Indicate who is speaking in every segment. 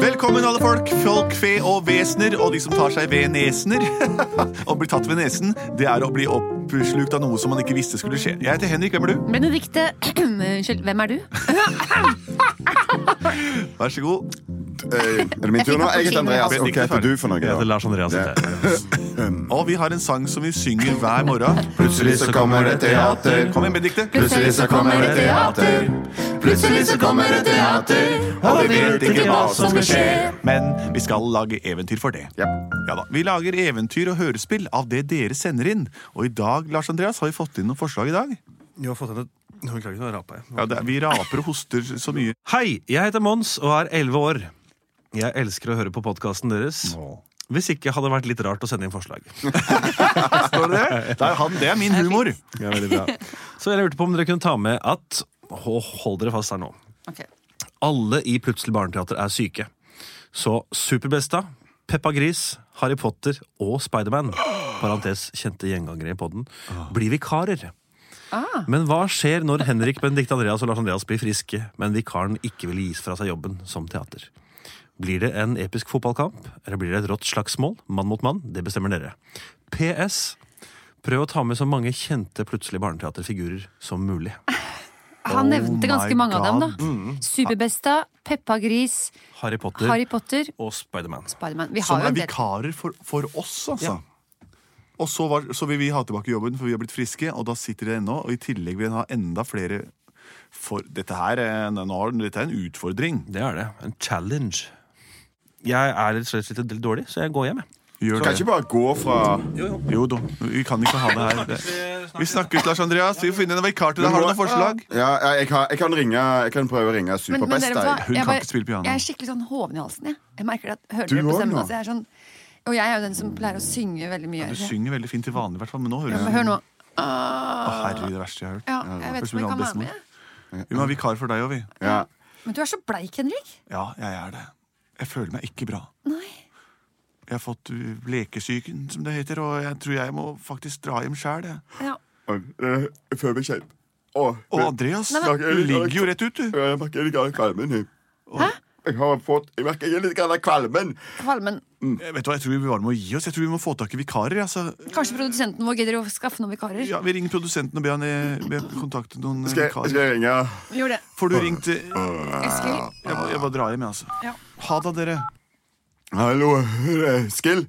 Speaker 1: Velkommen, alle folk. Folk, fe og vesener, og de som tar seg ved nesener. Å bli tatt ved nesen, det er å bli oppslukt av noe som man ikke visste skulle skje. Jeg heter Henrik, hvem er du?
Speaker 2: Benedikte, unnskyld, hvem er du?
Speaker 1: Vær så god.
Speaker 3: Eh, Er det min tur nå? Jeg heter Andreas.
Speaker 1: Jeg fikk
Speaker 3: Ok,
Speaker 2: altså.
Speaker 3: heter du for noe?
Speaker 4: Jeg heter
Speaker 3: da?
Speaker 4: Lars Andreas.
Speaker 3: Ja.
Speaker 4: heter jeg.
Speaker 1: Og vi har en sang som vi synger hver morgen.
Speaker 3: Plutselig så kommer det teater.
Speaker 1: Kom igjen, Benedikte.
Speaker 3: Plutselig så kommer det teater. Plutselig så kommer det teater. Og vi vet ikke hva som skal skje.
Speaker 1: Men vi skal lage eventyr for det.
Speaker 3: Ja.
Speaker 1: Ja da, Vi lager eventyr og hørespill av det dere sender inn. Og i dag Lars Andreas, har vi fått inn noen forslag i dag?
Speaker 5: Jeg har fått henne Nå klarer jeg ikke å rape. jeg.
Speaker 1: Ja, det er, Vi raper og hoster så mye.
Speaker 4: Hei, jeg heter Mons og er 11 år. Jeg elsker å høre på podkasten deres. Hvis ikke hadde det vært litt rart å sende inn forslag.
Speaker 1: Står det det? Det er, han, det er min humor.
Speaker 4: Så jeg lurte på om dere kunne ta med at og Hold dere fast her nå.
Speaker 2: Ok.
Speaker 4: Alle i Plutselig barneteater er syke. Så Superbesta, Peppa Gris, Harry Potter og Spiderman parentes kjente gjengangere i podden, blir vikarer. Men hva skjer når Henrik, Benedicte Andreas og Lars Andreas blir friske, men vikaren ikke vil gis fra seg jobben som teater? Blir det en episk fotballkamp, eller blir det et rått slagsmål? Mann mot mann, det bestemmer dere. PS. Prøv å ta med så mange kjente plutselig barneteaterfigurer som mulig.
Speaker 1: Oh
Speaker 2: Han nevnte
Speaker 1: my
Speaker 2: ganske mange av dem,
Speaker 1: God. Mm.
Speaker 2: da. Superbesta, Peppa Gris,
Speaker 4: Harry Potter
Speaker 2: Harry Potter,
Speaker 4: og Spiderman.
Speaker 2: Spiderman. Vi
Speaker 1: Som
Speaker 2: har jo
Speaker 1: er
Speaker 2: en del.
Speaker 1: vikarer for, for oss, altså. Og så, var, så vil vi ha tilbake jobben, for vi har blitt friske, og da sitter de ennå. Og i tillegg vil vi ha enda flere for Dette her er en, nå har- dette er en utfordring.
Speaker 4: Det er det. En challenge. Jeg er rett og slett litt dårlig, så jeg går hjem. jeg.
Speaker 1: Gjør
Speaker 3: Kan
Speaker 1: det.
Speaker 3: ikke bare gå fra
Speaker 1: Jo da, vi kan ikke ha det her. Det- Vi snakkes, Lars Andreas. Vi får finne en vikar til deg. Har du noen forslag?
Speaker 3: Ja, ja, jeg, kan, jeg, kan ringe, jeg kan prøve å ringe
Speaker 2: Men, men dere, vet du hva?
Speaker 3: Superbesta.
Speaker 1: Hun
Speaker 2: Jeg
Speaker 1: kan ikke spille piano.
Speaker 2: Jeg er skikkelig sånn hoven i halsen. Jeg, jeg merker det at hører
Speaker 3: Du
Speaker 2: dere på
Speaker 3: også,
Speaker 2: stemmen
Speaker 3: nå?
Speaker 2: altså, jeg er sånn, Og jeg er jo den som pleier å synge veldig mye.
Speaker 1: Du synger veldig fint til vanlig, i hvert fall, men nå hører
Speaker 2: Ja,
Speaker 1: du
Speaker 2: men Hør nå.
Speaker 1: Å,
Speaker 2: Ah,
Speaker 1: Herregud, det verste jeg har hørt.
Speaker 2: ja, jeg vet ikke om jeg kan være med. jeg.
Speaker 1: Vi må ha vikar for deg òg, vi.
Speaker 3: Ja.
Speaker 2: Men du er så bleik, Henrik.
Speaker 1: Ja, jeg er det. Jeg føler meg ikke bra.
Speaker 2: Nei.
Speaker 1: Jeg har fått uh, lekesyken, som det heter, og jeg tror jeg må faktisk dra hjem sjæl.
Speaker 2: Ja.
Speaker 3: Og, eh, Jeg føler meg kjempe... Å,
Speaker 1: Og Andreas,
Speaker 2: Nei, men-
Speaker 1: du ligger jo rett ut, du.
Speaker 3: jeg merker litt grann kvalmen. jeg. Jeg har fått Jeg merker jeg er litt grann kvalmen.
Speaker 2: Kvalmen.
Speaker 1: Jeg Eh, vet du hva, jeg tror vi bare må gi oss. Jeg tror vi må få tak i vikarer. Altså.
Speaker 2: Kanskje produsenten vår gidder å skaffe noen vikarer.
Speaker 1: Ja, vi ringer produsenten og ber han eh, be kontakte noen eh,
Speaker 3: Skal jeg, skal
Speaker 1: vikarer.
Speaker 3: jeg ringe
Speaker 2: Gjør det.
Speaker 1: Får du ringt eh, Jeg
Speaker 2: Eskil.
Speaker 1: må, jeg må dra hjem, jeg,
Speaker 2: Ja.
Speaker 1: altså. Ha det, dere.
Speaker 3: Hallo, eh, Skill?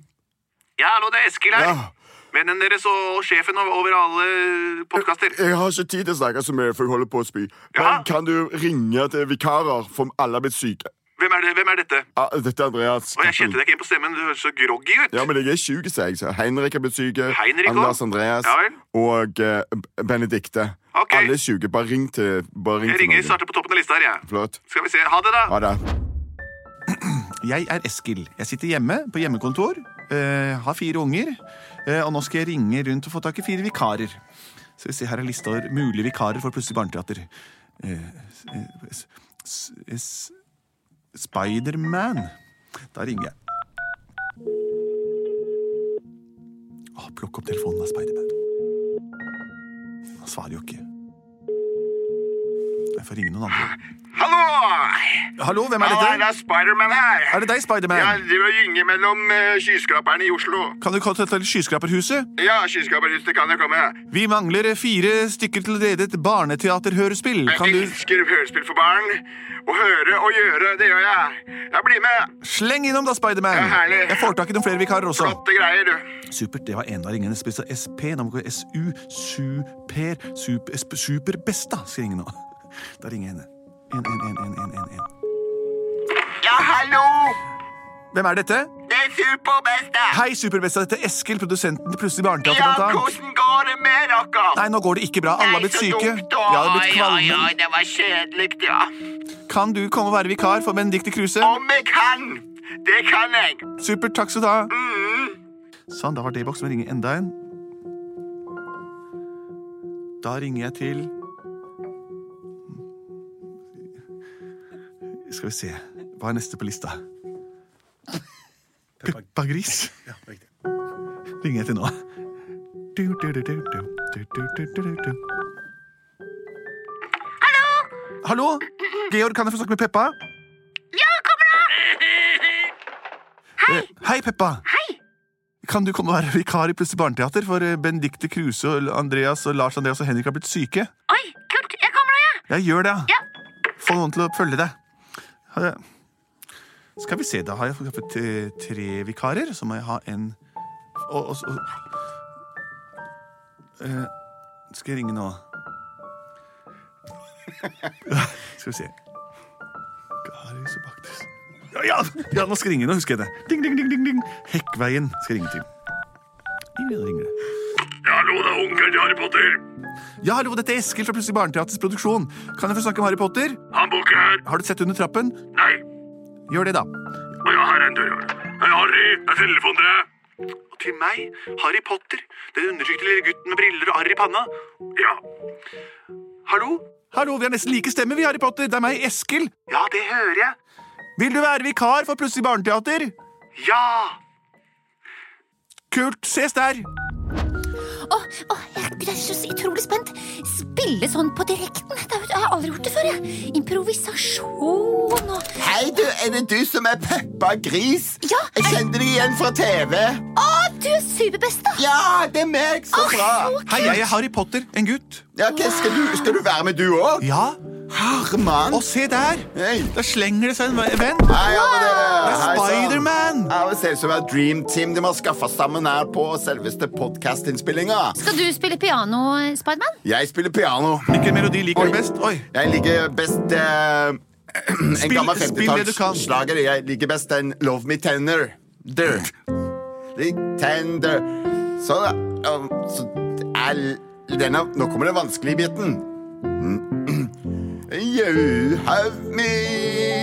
Speaker 6: Ja, hallo, det er Eskil her.
Speaker 3: Ja.
Speaker 6: Vennen deres og sjefen over- over alle podkaster.
Speaker 3: Jeg har ikke tid til å snakke så mye, for jeg holder på å spy. Men
Speaker 6: Ja.
Speaker 3: kan du ringe til vikarer, for alle er blitt syke?
Speaker 6: Hvem, er det- hvem er dette?
Speaker 3: Ah, dette er Andreas.
Speaker 6: Og Jeg kjente deg ikke igjen på stemmen. Du høres så groggy ut.
Speaker 3: Ja, men jeg er sjuk, sa jeg. Så Heinrich er blitt syk.
Speaker 6: Heinrich også?
Speaker 3: Anders Andreas
Speaker 6: Ja vel.
Speaker 3: og eh, B- Benedikte.
Speaker 6: Ok.
Speaker 3: Alle er syke. Bare ring til bare ring
Speaker 6: Jeg
Speaker 3: til
Speaker 6: ringer,
Speaker 3: noen.
Speaker 6: starter på toppen av lista her, jeg.
Speaker 3: Flott.
Speaker 6: Skal vi se. Ha det, da.
Speaker 3: Ha det.
Speaker 1: Jeg er Eskil. Jeg sitter hjemme på hjemmekontor. eh, har fire unger. eh, og nå skal jeg ringe rundt og få tak i fire vikarer. Så vi ser her er lista over mulige vikarer for Plutselig barneteater. Eh, s- s- s- Spiderman. Da ringer jeg. Å, plukk opp telefonen, da, Spiderman. Han svarer jo ikke. Jeg får ringe noen andre.
Speaker 6: Hallo!
Speaker 1: Hallo, hvem er
Speaker 6: Hallo, det
Speaker 1: dette?
Speaker 6: er Spiderman her.
Speaker 1: Er det deg, Spiderman?
Speaker 6: Jeg driver og gynger mellom eh, skyskraperne i Oslo.
Speaker 1: Kan du komme til Skyskraperhuset?
Speaker 6: Ja, skyskraperhuset kan jeg komme.
Speaker 1: Vi mangler fire stykker til å lede et barneteaterhørespill. Kan
Speaker 6: Jeg
Speaker 1: du
Speaker 6: elsker hørespill for barn. Å høre og gjøre, det gjør jeg. Jeg blir med.
Speaker 1: Sleng innom, da, Spiderman!
Speaker 6: Ja, herlig.
Speaker 1: Jeg får tak i noen flere vikarer også.
Speaker 6: Flotte greier, du.
Speaker 1: Supert. Det var en av ringene. Spissa SP. Nå må vi gå SU. Super. Super, SP, superbesta, skal jeg ringe nå. Da ringer jeg henne. En, en, en, en, en, en, en.
Speaker 6: Ja, hallo!
Speaker 1: Hvem er dette?
Speaker 6: Det er superbeste!
Speaker 1: Hei, Superbesta. Dette er Eskil, produsenten til Plutselig barneteater,
Speaker 6: Ja,
Speaker 1: blant annet.
Speaker 6: hvordan går det med dere?
Speaker 1: Nei, nå går det ikke bra. Alle har blitt syke. Vi har blitt
Speaker 6: Ja, ja,
Speaker 1: kvalme.
Speaker 6: det var kjedelig, ja.
Speaker 1: Kan du komme og være vikar for Benedicte Kruse?
Speaker 6: Om jeg kan! Det kan jeg.
Speaker 1: Supert, takk skal du ha. Sånn, da var det i boks. Vi ringer enda en. Da ringer jeg til Skal vi se Hva er neste på lista? Peppa Gris. Ringer jeg til nå. Du, du, du, du, du, du, du, du, du, du, du. Hallo! Georg, kan jeg få snakke med Peppa? Eh, Hei, Peppa. Kan du komme og være vikar i Plutselig barneteater? For eh, Benedicte Kruse og Andreas og Lars Andreas og Henrik har blitt syke.
Speaker 7: Oi, kult. Jeg kommer nå, jeg.
Speaker 1: Jeg gjør det, ja. Få noen til å følge deg. Ha det. Skal vi se, da har jeg skaffet eh, tre vikarer. Så må jeg ha en og, og, og, Eh, Skal jeg ringe nå? skal vi se Karius og Baktus ja, ja, ja, nå skal jeg ringe. Nå husker jeg det. Ding, ding, ding, ding, ding. Hekkveien skal jeg ringe til. Ringer det, ringer det.
Speaker 6: Hallo, det er onkelen til Harry Potter.
Speaker 1: Ja, hallo, dette er Eskil fra Plutselig barneteaters produksjon. Kan jeg få snakke om Harry Potter?
Speaker 6: Han bor ikke her.
Speaker 1: Har du sett under trappen?
Speaker 6: Nei.
Speaker 1: Gjør det, da.
Speaker 6: Og ja, her er en dør. Hei, Harry. Jeg teller for dere.
Speaker 1: Og til meg, Harry Potter, den undertrykte lille gutten med briller og arr i panna.
Speaker 6: Ja.
Speaker 1: Hallo? Hallo, vi har nesten like stemmer, vi, Harry Potter. Det er meg, Eskil.
Speaker 6: Ja, det hører jeg.
Speaker 1: Vil du være vikar for Plutselig barneteater?
Speaker 6: Ja.
Speaker 1: Kult, ses der.
Speaker 7: Åh, åh, jeg jeg er så utrolig spent. Spille sånn på direkten. Det har jeg aldri gjort det før. jeg Improvisasjon og
Speaker 3: Hei, du, er det du som er Peppa Gris?
Speaker 7: Ja,
Speaker 3: Jeg
Speaker 7: jeg-
Speaker 3: kjente deg igjen fra TV.
Speaker 7: Å, du er superbest, da!
Speaker 3: Ja, det er meg! Så
Speaker 7: Åh,
Speaker 3: bra.
Speaker 7: så
Speaker 1: Hei, jeg er Harry Potter, en gutt.
Speaker 3: Ja, ok, skal, du, skal du være med, du òg?
Speaker 1: Ja,
Speaker 3: Herman.
Speaker 1: og se der.
Speaker 3: Hei.
Speaker 1: Da slenger det seg en ve- venn.
Speaker 3: Hei, alle dere.
Speaker 1: Det er
Speaker 3: Hei, sann.
Speaker 1: Spiderman.
Speaker 3: Ja, Det ser ut som et dream team de har skaffa sammen her på selveste podkastinnspillinga.
Speaker 7: Skal du spille piano, Spiderman?
Speaker 3: Jeg spiller piano.
Speaker 1: Hvilken melodi liker du
Speaker 3: Oi.
Speaker 1: best? Oi.
Speaker 3: Jeg liker best eh, En
Speaker 1: Spill-
Speaker 3: gammel
Speaker 1: spill det du kan.
Speaker 3: 50-tallsslager. Jeg liker best den Love Me Tender. Der. Litt Tender. Sånn, ja. Um, Så er denne, nå kommer den vanskelige biten. Mm. You have me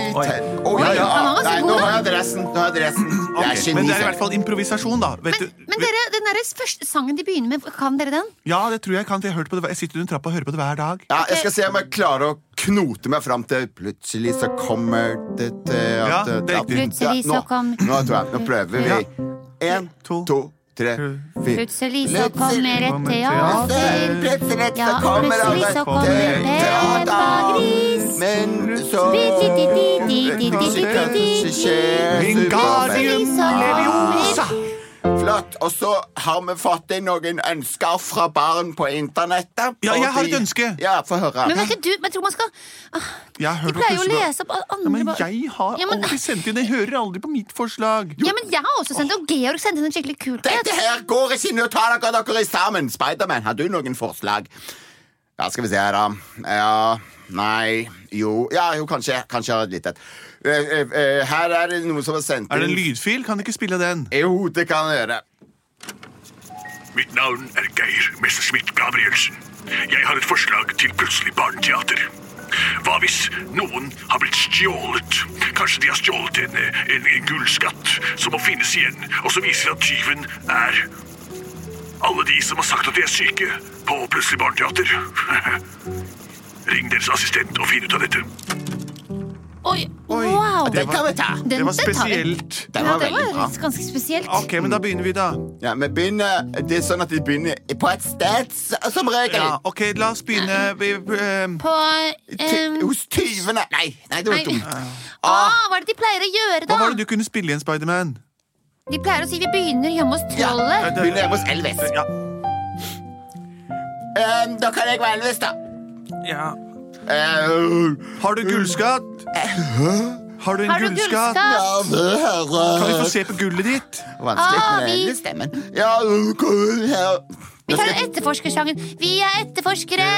Speaker 3: ten... Å, ja, ja.
Speaker 7: han var ganske
Speaker 3: Nei,
Speaker 7: god,
Speaker 3: nå
Speaker 7: da.
Speaker 3: har jeg dressen. Nå har jeg dressen. Jeg er
Speaker 1: Ok, Men
Speaker 3: geni.
Speaker 1: det er i hvert
Speaker 3: selv.
Speaker 1: fall improvisasjon, da. Vet
Speaker 7: Men,
Speaker 1: du-
Speaker 7: men dere, den der første sangen de begynner med, kan dere den?
Speaker 1: Ja, det tror jeg kan, for jeg, har hørt på det. hver- jeg sitter under trappa og hører på det hver dag.
Speaker 3: Ja, jeg skal se om jeg klarer å knote meg fram til Plutselig så kommer det til
Speaker 1: Ja,
Speaker 3: at
Speaker 1: det er riktig.
Speaker 7: Plutselig så
Speaker 3: nå,
Speaker 7: kom-
Speaker 3: nå, tror jeg, nå prøver vi.
Speaker 1: Ja.
Speaker 3: Én,
Speaker 1: To.
Speaker 3: to, tre, fire.
Speaker 7: Plutselig så kommer et
Speaker 1: kommer
Speaker 7: teater.
Speaker 1: teater.
Speaker 3: Plutselig
Speaker 7: Ja, plutselig så kommer Peppa Gris.
Speaker 3: Men så
Speaker 1: Wingardium leviosa!
Speaker 3: Flott. Og så har vi fått inn noen ønsker fra barn på internettet.
Speaker 1: Ja, jeg har et
Speaker 3: Og de-
Speaker 1: ønske.
Speaker 3: Ja, Få høre.
Speaker 7: Men var ikke du Men jeg tror man skal ah,
Speaker 1: Jeg har
Speaker 7: De
Speaker 1: hørt at
Speaker 7: pleier jo å
Speaker 1: plutselig-
Speaker 7: lese opp andre
Speaker 1: Ja, men
Speaker 7: bare-
Speaker 1: jeg har
Speaker 7: Ja, men-
Speaker 1: aldri sendt inn. Jeg hører aldri på mitt forslag.
Speaker 7: Ja, men jeg har også sendt det, og Georg sendte en skikkelig kul
Speaker 3: Dette her går ikke nå tar dere dere sammen. Spiderman, har du noen forslag? Ja, skal vi se her, da. Ja, nei, jo Ja, jo, kanskje. Kanskje jeg har et lite et. Eh, eh, eh, Her er det noen som har sendt
Speaker 1: Er det en
Speaker 3: inn
Speaker 1: lydfil? Kan du ikke spille den?
Speaker 3: Jo, det kan jeg gjøre.
Speaker 6: Mitt navn er Geir Messerschmidt Gabrielsen. Jeg har et forslag til plutselig barneteater. Hva hvis noen har blitt stjålet? Kanskje de har stjålet en, en, en gullskatt som må finnes igjen, og som viser at tyven er alle de som har sagt at de er syke på Plutselig barneteater. Ring deres assistent og finn ut av dette.
Speaker 7: Oi, wow!
Speaker 1: Det
Speaker 3: Den kan vi ta.
Speaker 7: Den-
Speaker 1: Det var
Speaker 7: den tar vi.
Speaker 1: spesielt.
Speaker 3: Den
Speaker 7: ja,
Speaker 3: var
Speaker 7: det
Speaker 3: veldig
Speaker 7: var
Speaker 3: bra.
Speaker 7: ganske spesielt.
Speaker 1: Ok, men da begynner vi, da.
Speaker 3: Ja, vi begynner, Det er sånn at vi begynner på et sted, s- som regel.
Speaker 1: Ja, ok, La oss begynne vi, ehm,
Speaker 7: På
Speaker 3: Ty-
Speaker 7: ehm,
Speaker 3: Hos tyvene. Nei, nei, det var
Speaker 7: Nei.
Speaker 3: dumt.
Speaker 7: ah, Hva er det de pleier å gjøre,
Speaker 1: Hva
Speaker 7: da?
Speaker 1: var det du kunne spille igjen, Spiderman?
Speaker 7: De pleier å si 'vi begynner hjemme hos
Speaker 3: Ja,
Speaker 7: trollet'.
Speaker 3: begynner hjemme hos Elvis.
Speaker 1: Ja.
Speaker 3: Eh, da kan jeg være Elvis, da.
Speaker 5: Ja.
Speaker 3: Eh,
Speaker 1: Har du gullskatt? Har du en
Speaker 7: Har du
Speaker 1: gullskatt?
Speaker 7: gullskatt?
Speaker 3: ja, det her, eh,
Speaker 1: Kan vi få se på gullet ditt?
Speaker 3: Vanskelig
Speaker 7: Ah,
Speaker 3: med
Speaker 7: vi-
Speaker 3: denne stemmen. Ja, cool, ja.
Speaker 7: Vi tar etterforskersangen. Vi er etterforskere!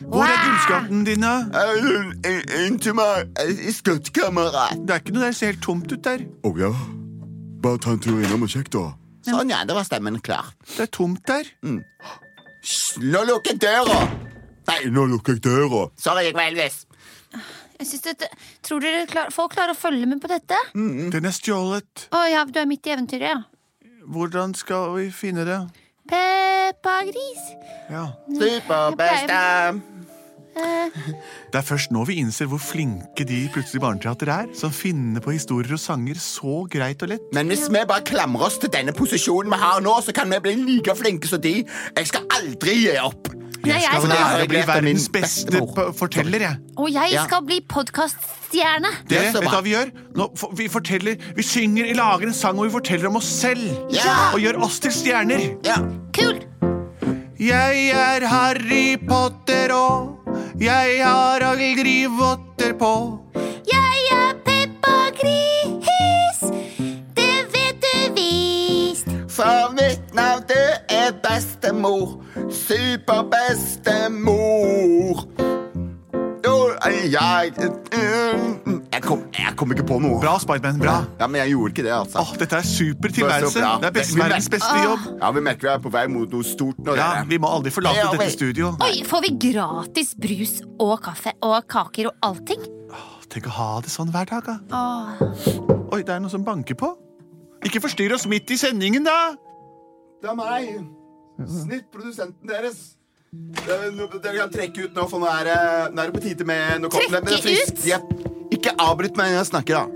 Speaker 1: Hvor er
Speaker 7: Wow!
Speaker 1: gullskatten din, da?
Speaker 3: Inn til meg, skattkamerat.
Speaker 1: Det er ikke noe der. Det ser helt tomt ut der.
Speaker 3: Å ja. Bare ta en tur innom og sjekk, da. Sånn, ja. Da var stemmen klar.
Speaker 1: Det er tomt der.
Speaker 3: Nå lukker døra! Nei, nå lukker jeg døra. Sorry, jeg var Elvis.
Speaker 7: Jeg synes dette, tror dere klar, folk klarer å følge med på dette? Å
Speaker 3: Mm.
Speaker 1: Den er stjålet.
Speaker 7: ja, du er midt i eventyret, ja.
Speaker 1: Hvordan skal vi finne det?
Speaker 7: Peppa Gris.
Speaker 1: Ja.
Speaker 3: Superbesta.
Speaker 1: Det er først nå vi innser hvor flinke de i plutselig barneteater er, som finner på historier og sanger så greit og lett.
Speaker 3: Men hvis vi bare klamrer oss til denne posisjonen vi har nå, så kan vi bli like flinke som de. Jeg skal aldri gi opp.
Speaker 7: Nei, jeg
Speaker 1: Og
Speaker 3: det
Speaker 1: det er
Speaker 3: har
Speaker 7: skal,
Speaker 1: å
Speaker 3: jeg
Speaker 1: bli
Speaker 3: lært av min
Speaker 1: verdens beste
Speaker 3: bestemor.
Speaker 1: p- forteller, jeg.
Speaker 7: og jeg
Speaker 3: Ja.
Speaker 7: skal bli podkaststjerne.
Speaker 1: Dere,
Speaker 3: Det er så
Speaker 1: vet du
Speaker 3: bra.
Speaker 1: hva vi gjør? Nå, for, vi forteller, vi synger, vi lager en sang, og vi forteller om oss selv.
Speaker 3: Ja.
Speaker 1: Og gjør oss til stjerner.
Speaker 3: Ja.
Speaker 7: Kult!
Speaker 1: Jeg er Harry Potter, og jeg har aldri votter på.
Speaker 7: Jeg er Peppa Gris. Det vet du visst.
Speaker 3: For mitt navn, det er bestemor. Superbestemor. Jo, eh, jeg mm, jeg kom, jeg kom ikke på noe.
Speaker 1: Bra, Spiderman. Bra.
Speaker 3: Ja, men jeg gjorde ikke det, altså.
Speaker 1: Åh, dette er super
Speaker 3: Det
Speaker 1: tilværelse.
Speaker 3: var så bra.
Speaker 1: Det er best,
Speaker 3: Det- vi-
Speaker 1: verdens beste jobb.
Speaker 3: Ja, Vi merker vi er på vei mot noe stort nå.
Speaker 1: Ja,
Speaker 3: dere.
Speaker 1: Vi må aldri forlate
Speaker 3: Ja,
Speaker 1: dette
Speaker 3: vi-
Speaker 1: studio.
Speaker 7: Oi, får vi gratis brus og kaffe og kaker og allting?
Speaker 1: Tenk å ha det sånn hver dag, da. Oi, det er noen som banker på. Ikke forstyrr oss midt i sendingen, da!
Speaker 3: Det er meg. Snittprodusenten deres. Eh, nå- Dere kan trekke ut nå, for nå er det, nå er det på tide med nå kom-
Speaker 7: Trekke
Speaker 3: Nei, men det er friskt.
Speaker 7: ut? Mm,
Speaker 3: Jepp. Ikke avbryt meg når jeg snakker, da.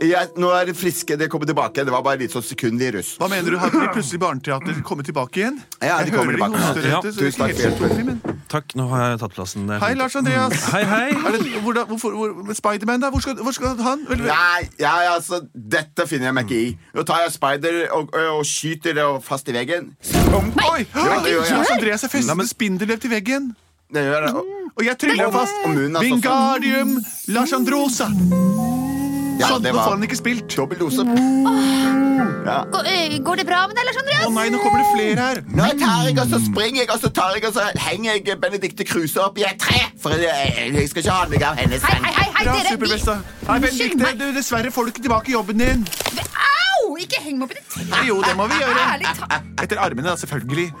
Speaker 3: Jeg, nå er det friske. Det kommer tilbake. Det var bare litt sånn sekund i russ.
Speaker 1: Hva mener du, har de plutselig barneteater kommet tilbake igjen?
Speaker 3: Ja, de
Speaker 1: jeg
Speaker 3: kommer
Speaker 1: hører
Speaker 3: tilbake.
Speaker 1: de hoster
Speaker 4: Ja,
Speaker 1: etter, så det
Speaker 3: tusen
Speaker 1: er
Speaker 3: takk
Speaker 1: ikke helt
Speaker 3: for
Speaker 1: selvfølgelig, men...
Speaker 4: Takk, nå har jeg tatt plassen. Det er
Speaker 1: Hei,
Speaker 4: fint.
Speaker 1: Lars Andreas.
Speaker 4: Hei, hei.
Speaker 1: Er det, hvordan, hvorfor, hvor, men Spiderman, da? Hvor skal, hvor skal han? Vel, vel-
Speaker 3: Nei, ja, altså, dette finner jeg meg ikke i. Nå tar jeg spider og, og skyter det fast i veggen. Stump.
Speaker 1: Oi!
Speaker 3: Ja, det gjør jeg.
Speaker 1: Lars Andreas er festet med spindelvev til veggen.
Speaker 3: Det gjør jeg. Og-
Speaker 1: Og jeg tryller
Speaker 3: Og-
Speaker 1: fast.
Speaker 3: og munnen er så- sånn-
Speaker 1: Vingardium Lars Androsa.
Speaker 3: Ja,
Speaker 1: sånn,
Speaker 3: det
Speaker 1: nå får
Speaker 3: var
Speaker 1: han ikke spilt. Å
Speaker 3: dobbel dose.
Speaker 7: Går, øh, går det bra med deg, Lars Andreas?
Speaker 1: nei, nå kommer det flere her.
Speaker 3: Nå tar jeg, og så springer jeg, og så tar jeg, og så henger jeg Benedicte Kruse opp i et tre. For jeg, jeg skal ikke ha meg av hennes
Speaker 7: Hei,
Speaker 3: sang.
Speaker 7: hei, hei, hei
Speaker 1: Bra,
Speaker 7: dere!
Speaker 1: superbesta. Hei,
Speaker 7: Unnskyld
Speaker 1: Benedikte,
Speaker 7: meg.
Speaker 1: du, dessverre får du ikke tilbake jobben din.
Speaker 7: Vi, au! Ikke heng meg opp i det treet!
Speaker 1: Jo, det må vi
Speaker 7: Ærlig
Speaker 1: gjøre.
Speaker 7: talt.
Speaker 1: Etter armene, da, selvfølgelig.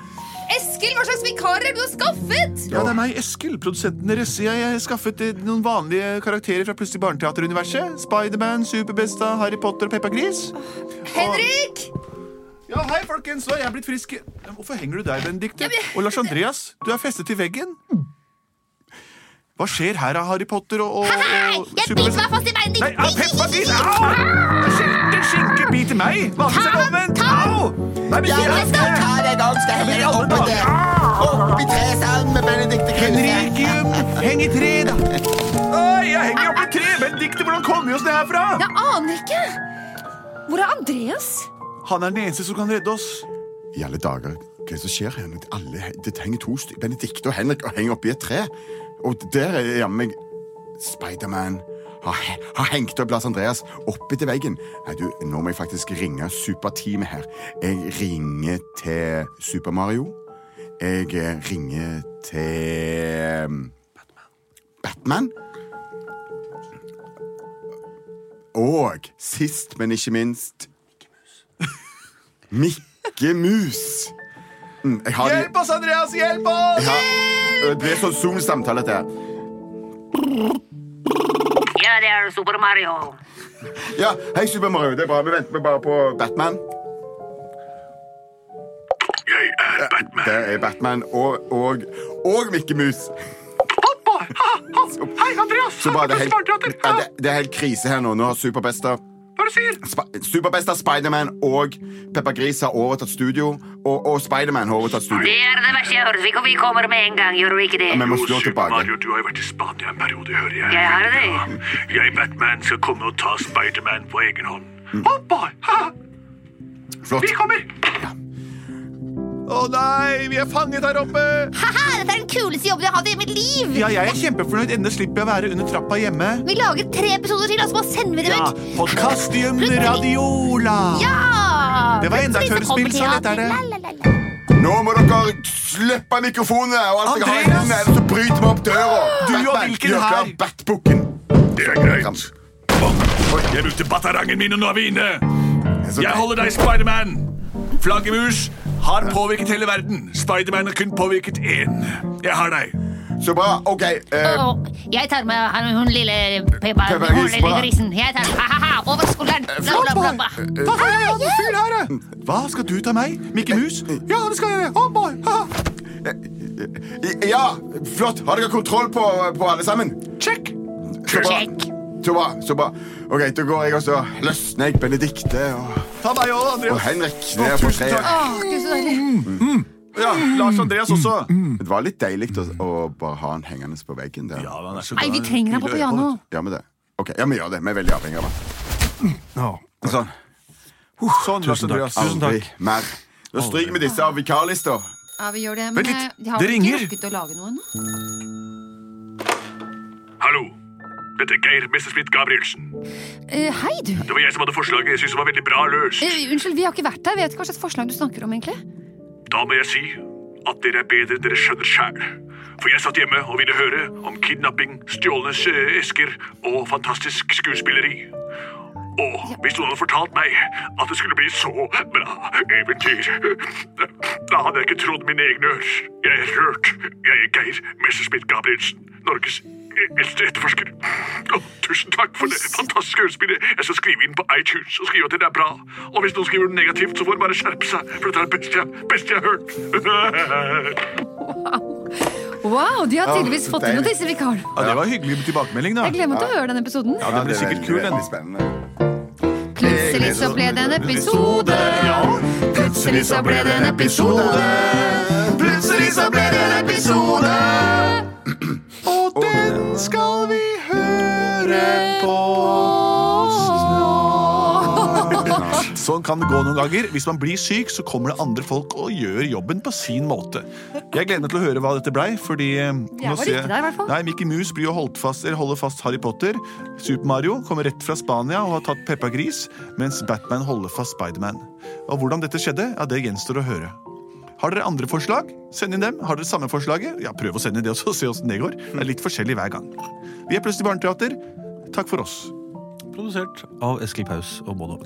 Speaker 7: Eskil, hva slags vikarer er det du har skaffet?
Speaker 1: Ja, det er meg, Eskil, produsenten deres. Jeg har skaffet eh, noen vanlige karakterer fra plutselig barneteateruniverset. Spiderman, Superbesta, Harry Potter og Peppa Gris.
Speaker 7: Henrik!
Speaker 1: Ja, hei, folkens, nå er jeg blitt frisk. Hvorfor henger du der, Benedikte?
Speaker 7: Ja, men-
Speaker 1: Og Lars Andreas, du er festet til veggen. Hva skjer her av Harry Potter og, og,
Speaker 7: Hei,
Speaker 1: og
Speaker 7: jeg biter meg fast i beinet
Speaker 1: Nei, au, Peppa Gris! Au! Det skjelte skinke biter meg! Vanligvis er det omvendt.
Speaker 7: Ta den,
Speaker 1: Au! Nei, men
Speaker 3: Ja,
Speaker 1: ikke
Speaker 3: jeg skal
Speaker 1: dette!
Speaker 3: ta deg opp, skal henge deg opp i det. Opp i tresalen med Benedicte Kruse.
Speaker 1: Henrikium, heng i tre, da. Oi, jeg henger opp i tre. Benedikte, hvordan kom vi oss ned herfra?
Speaker 2: Jeg aner ikke! Hvor er Andreas?
Speaker 1: Han er den eneste som kan redde oss.
Speaker 3: I alle dager, hva er det som skjer her? Det, alle, he- det henger to stykker, Benedicte og Henrik, og henger oppi et tre. Og der er jammen meg Spiderman har, he- har hengt opp Lars Andreas oppi til veggen. Nei, du, nå må jeg faktisk ringe superteamet her. Jeg ringer til Super Mario. Jeg eh, ringer til um, Batman. Og sist, men ikke minst Mikke Mus. Mm, jeg har de-
Speaker 1: Hjelp oss, Andreas! Hjelp oss!
Speaker 3: ja. Det blir sånn Zoom-samtale, dette. her.
Speaker 8: Ja, det er Super Mario.
Speaker 3: Ja, Hei, Super-Mario. Det er bra. Vi venter bare på Batman.
Speaker 6: Jeg er Batman.
Speaker 3: Det er Batman og, og, og Mikke Mus.
Speaker 6: Hei, Andreas!
Speaker 3: Så bare det, er
Speaker 6: Hei,
Speaker 3: helt,
Speaker 6: Smarteater.
Speaker 3: ja, det, det er helt krise her nå. Nå har Superbesta
Speaker 6: Hva er det du sier?
Speaker 3: Sp- Superbesta, Spiderman og Peppa Gris har overtatt studio. Og, og Spiderman har overtatt
Speaker 8: Det
Speaker 3: studio.
Speaker 8: er det verste jeg har hørt. Vi- Vi kommer med en gang, gjør vi ikke det?
Speaker 3: Men vi må
Speaker 6: Jo,
Speaker 3: slå
Speaker 6: Super
Speaker 3: tilbake.
Speaker 6: Mario, du har jo vært i Spania en periode, hører jeg.
Speaker 8: Jeg har det.
Speaker 6: Ja. Jeg, Batman, skal komme og ta Spiderman på egen hånd.
Speaker 3: Mm.
Speaker 6: Hoppa! Ha!
Speaker 3: Flott.
Speaker 6: Vi kommer!
Speaker 1: Å nei, vi er fanget her oppe!
Speaker 7: Haha, dette er den kuleste jobben jeg har hatt i mitt liv!
Speaker 1: Ja, jeg er kjempefornøyd. Endelig slipper jeg å være under trappa hjemme.
Speaker 7: Vi lager tre episoder til, og så bare sender vi dem
Speaker 1: Ja,
Speaker 7: ut.
Speaker 1: Podkastium Radiola!
Speaker 7: Ja!
Speaker 1: Det var enda et
Speaker 7: Plutselig så kommer
Speaker 1: hørespill, så lett er det.
Speaker 7: teater. La, la, la, la.
Speaker 3: Nå må dere slippe mikrofonene og alt dere har i
Speaker 1: Andreas!
Speaker 3: hånden, ellers så bryter vi opp
Speaker 1: Du
Speaker 3: døra.
Speaker 1: og
Speaker 3: Batman,
Speaker 1: hvilken
Speaker 3: gjør klar
Speaker 1: her?
Speaker 3: Batbukken.
Speaker 6: Det er greit. Bom. Oi, Jeg brukte batarangen min, og nå er vi inne.
Speaker 3: Så-
Speaker 9: Jeg holder deg, Spiderman! Flaggermus har påvirket hele verden. Spiderman har kun påvirket én. Jeg har deg.
Speaker 3: Så bra. OK. eh,
Speaker 10: Å, jeg tar med han, hun lille Peppa,
Speaker 3: Peppa
Speaker 10: hun
Speaker 3: Gris,
Speaker 10: lille
Speaker 3: bra.
Speaker 10: grisen. Jeg tar ha-ha-ha over skulderen.
Speaker 1: Eh,
Speaker 10: Bla, bla, bla, bla.
Speaker 3: Eh,
Speaker 1: Hva skal jeg gjøre med fyren her? eh?
Speaker 3: Mm.
Speaker 1: Hva skal du ta meg? Mikke
Speaker 3: Eh,
Speaker 1: Mus? Ja, det skal jeg gjøre. Oh, boy. Ha.
Speaker 3: eh, Ja, flott. Har dere kontroll på, på alle sammen?
Speaker 1: Check.
Speaker 3: Så bra.
Speaker 10: Check.
Speaker 3: Så bra. så bra. OK, da går jeg og så løsner jeg Benedicte og,
Speaker 1: Ta meg òg,
Speaker 3: og
Speaker 1: Andreas.
Speaker 3: Henrik ned på
Speaker 1: tusen takk.
Speaker 3: treet.
Speaker 1: Mm, Ja, Lars Andreas også.
Speaker 3: Det var litt deilig å, å bare ha han hengende på veggen der.
Speaker 1: Ja, han er så
Speaker 10: Nei,
Speaker 1: glad
Speaker 10: vi
Speaker 1: i
Speaker 10: trenger ham på
Speaker 1: å høre
Speaker 10: piano.
Speaker 3: Ja, men det. Ok, ja, vi gjør det. Vi er veldig avhengig av han.
Speaker 11: Ja.
Speaker 3: Sånn.
Speaker 1: Uff, Sånn, Lars Andreas.
Speaker 11: Tusen
Speaker 3: Aldri
Speaker 11: takk.
Speaker 3: mer. Da stryker vi disse av vikarlister.
Speaker 2: Ja, vi gjør det,
Speaker 1: Vent
Speaker 2: men
Speaker 1: litt,
Speaker 2: eh, de har
Speaker 1: det
Speaker 2: vel ikke
Speaker 1: ringer.
Speaker 2: rukket å lage noe ennå.
Speaker 9: Hallo. Dette er Geir Messerschmidt Gabrielsen.
Speaker 2: Eh, hei, du.
Speaker 9: Det var jeg som hadde forslaget jeg syntes var veldig bra løst.
Speaker 2: Eh, unnskyld, vi har ikke vært der. Vet ikke hva slags forslag du snakker om, egentlig.
Speaker 9: Da må jeg si at dere er bedre enn dere skjønner sjæl. For jeg satt hjemme og ville høre om kidnapping, stjålne eh, esker og fantastisk skuespilleri. Og hvis noen hadde fortalt meg at det skulle bli så bra eventyr, da hadde jeg ikke trodd mine egne ører. Jeg er rørt. Jeg er Geir Messerschmidt Gabrielsen, Norges e- eldste etterforsker. Å, tusen takk for det fantastiske utspillet. Jeg skal skrive inn på iTunes og skrive at den er bra. Og hvis noen skriver noe negativt, så får de bare skjerpe seg, for dette er det beste jeg, beste jeg har hørt.
Speaker 2: Wow, de har
Speaker 3: Ja,
Speaker 2: tydeligvis fått inn noen
Speaker 3: deilig.
Speaker 2: disse vikarene.
Speaker 1: Ja, det var hyggelig med tilbakemelding, da.
Speaker 2: Jeg gleder meg til å høre den episoden.
Speaker 1: Ja, det blir
Speaker 3: er
Speaker 1: sikkert
Speaker 3: veldig,
Speaker 1: kul, den.
Speaker 3: veldig spennende.
Speaker 2: Plutselig så ble det en episode, ja. Plutselig så ble det en episode.
Speaker 1: Plutselig så ble det en episode, og den skal vi høre på snart. Sånn kan det gå noen ganger. Hvis man blir syk, så kommer det andre folk og gjør jobben på sin måte. Jeg gleder meg til å høre hva dette blei, fordi eh, nå
Speaker 2: Jeg var
Speaker 1: ser
Speaker 2: ikke der, i hvert fall.
Speaker 1: Nei, Mickey Mouse blir jo holdt fast, eller holder fast Harry Potter. Super Mario kommer rett fra Spania og har tatt Peppa Gris, mens Batman holder fast Spiderman. Og hvordan dette skjedde, ja, det gjenstår å høre. Har dere andre forslag? Send inn dem. Har dere samme forslaget? Ja, Prøv å sende inn det også, se åssen det går. Det er litt forskjellig hver gang. Vi er Plutselig barneteater. Takk for oss.
Speaker 4: Produsert av Eskil Paus og Bono.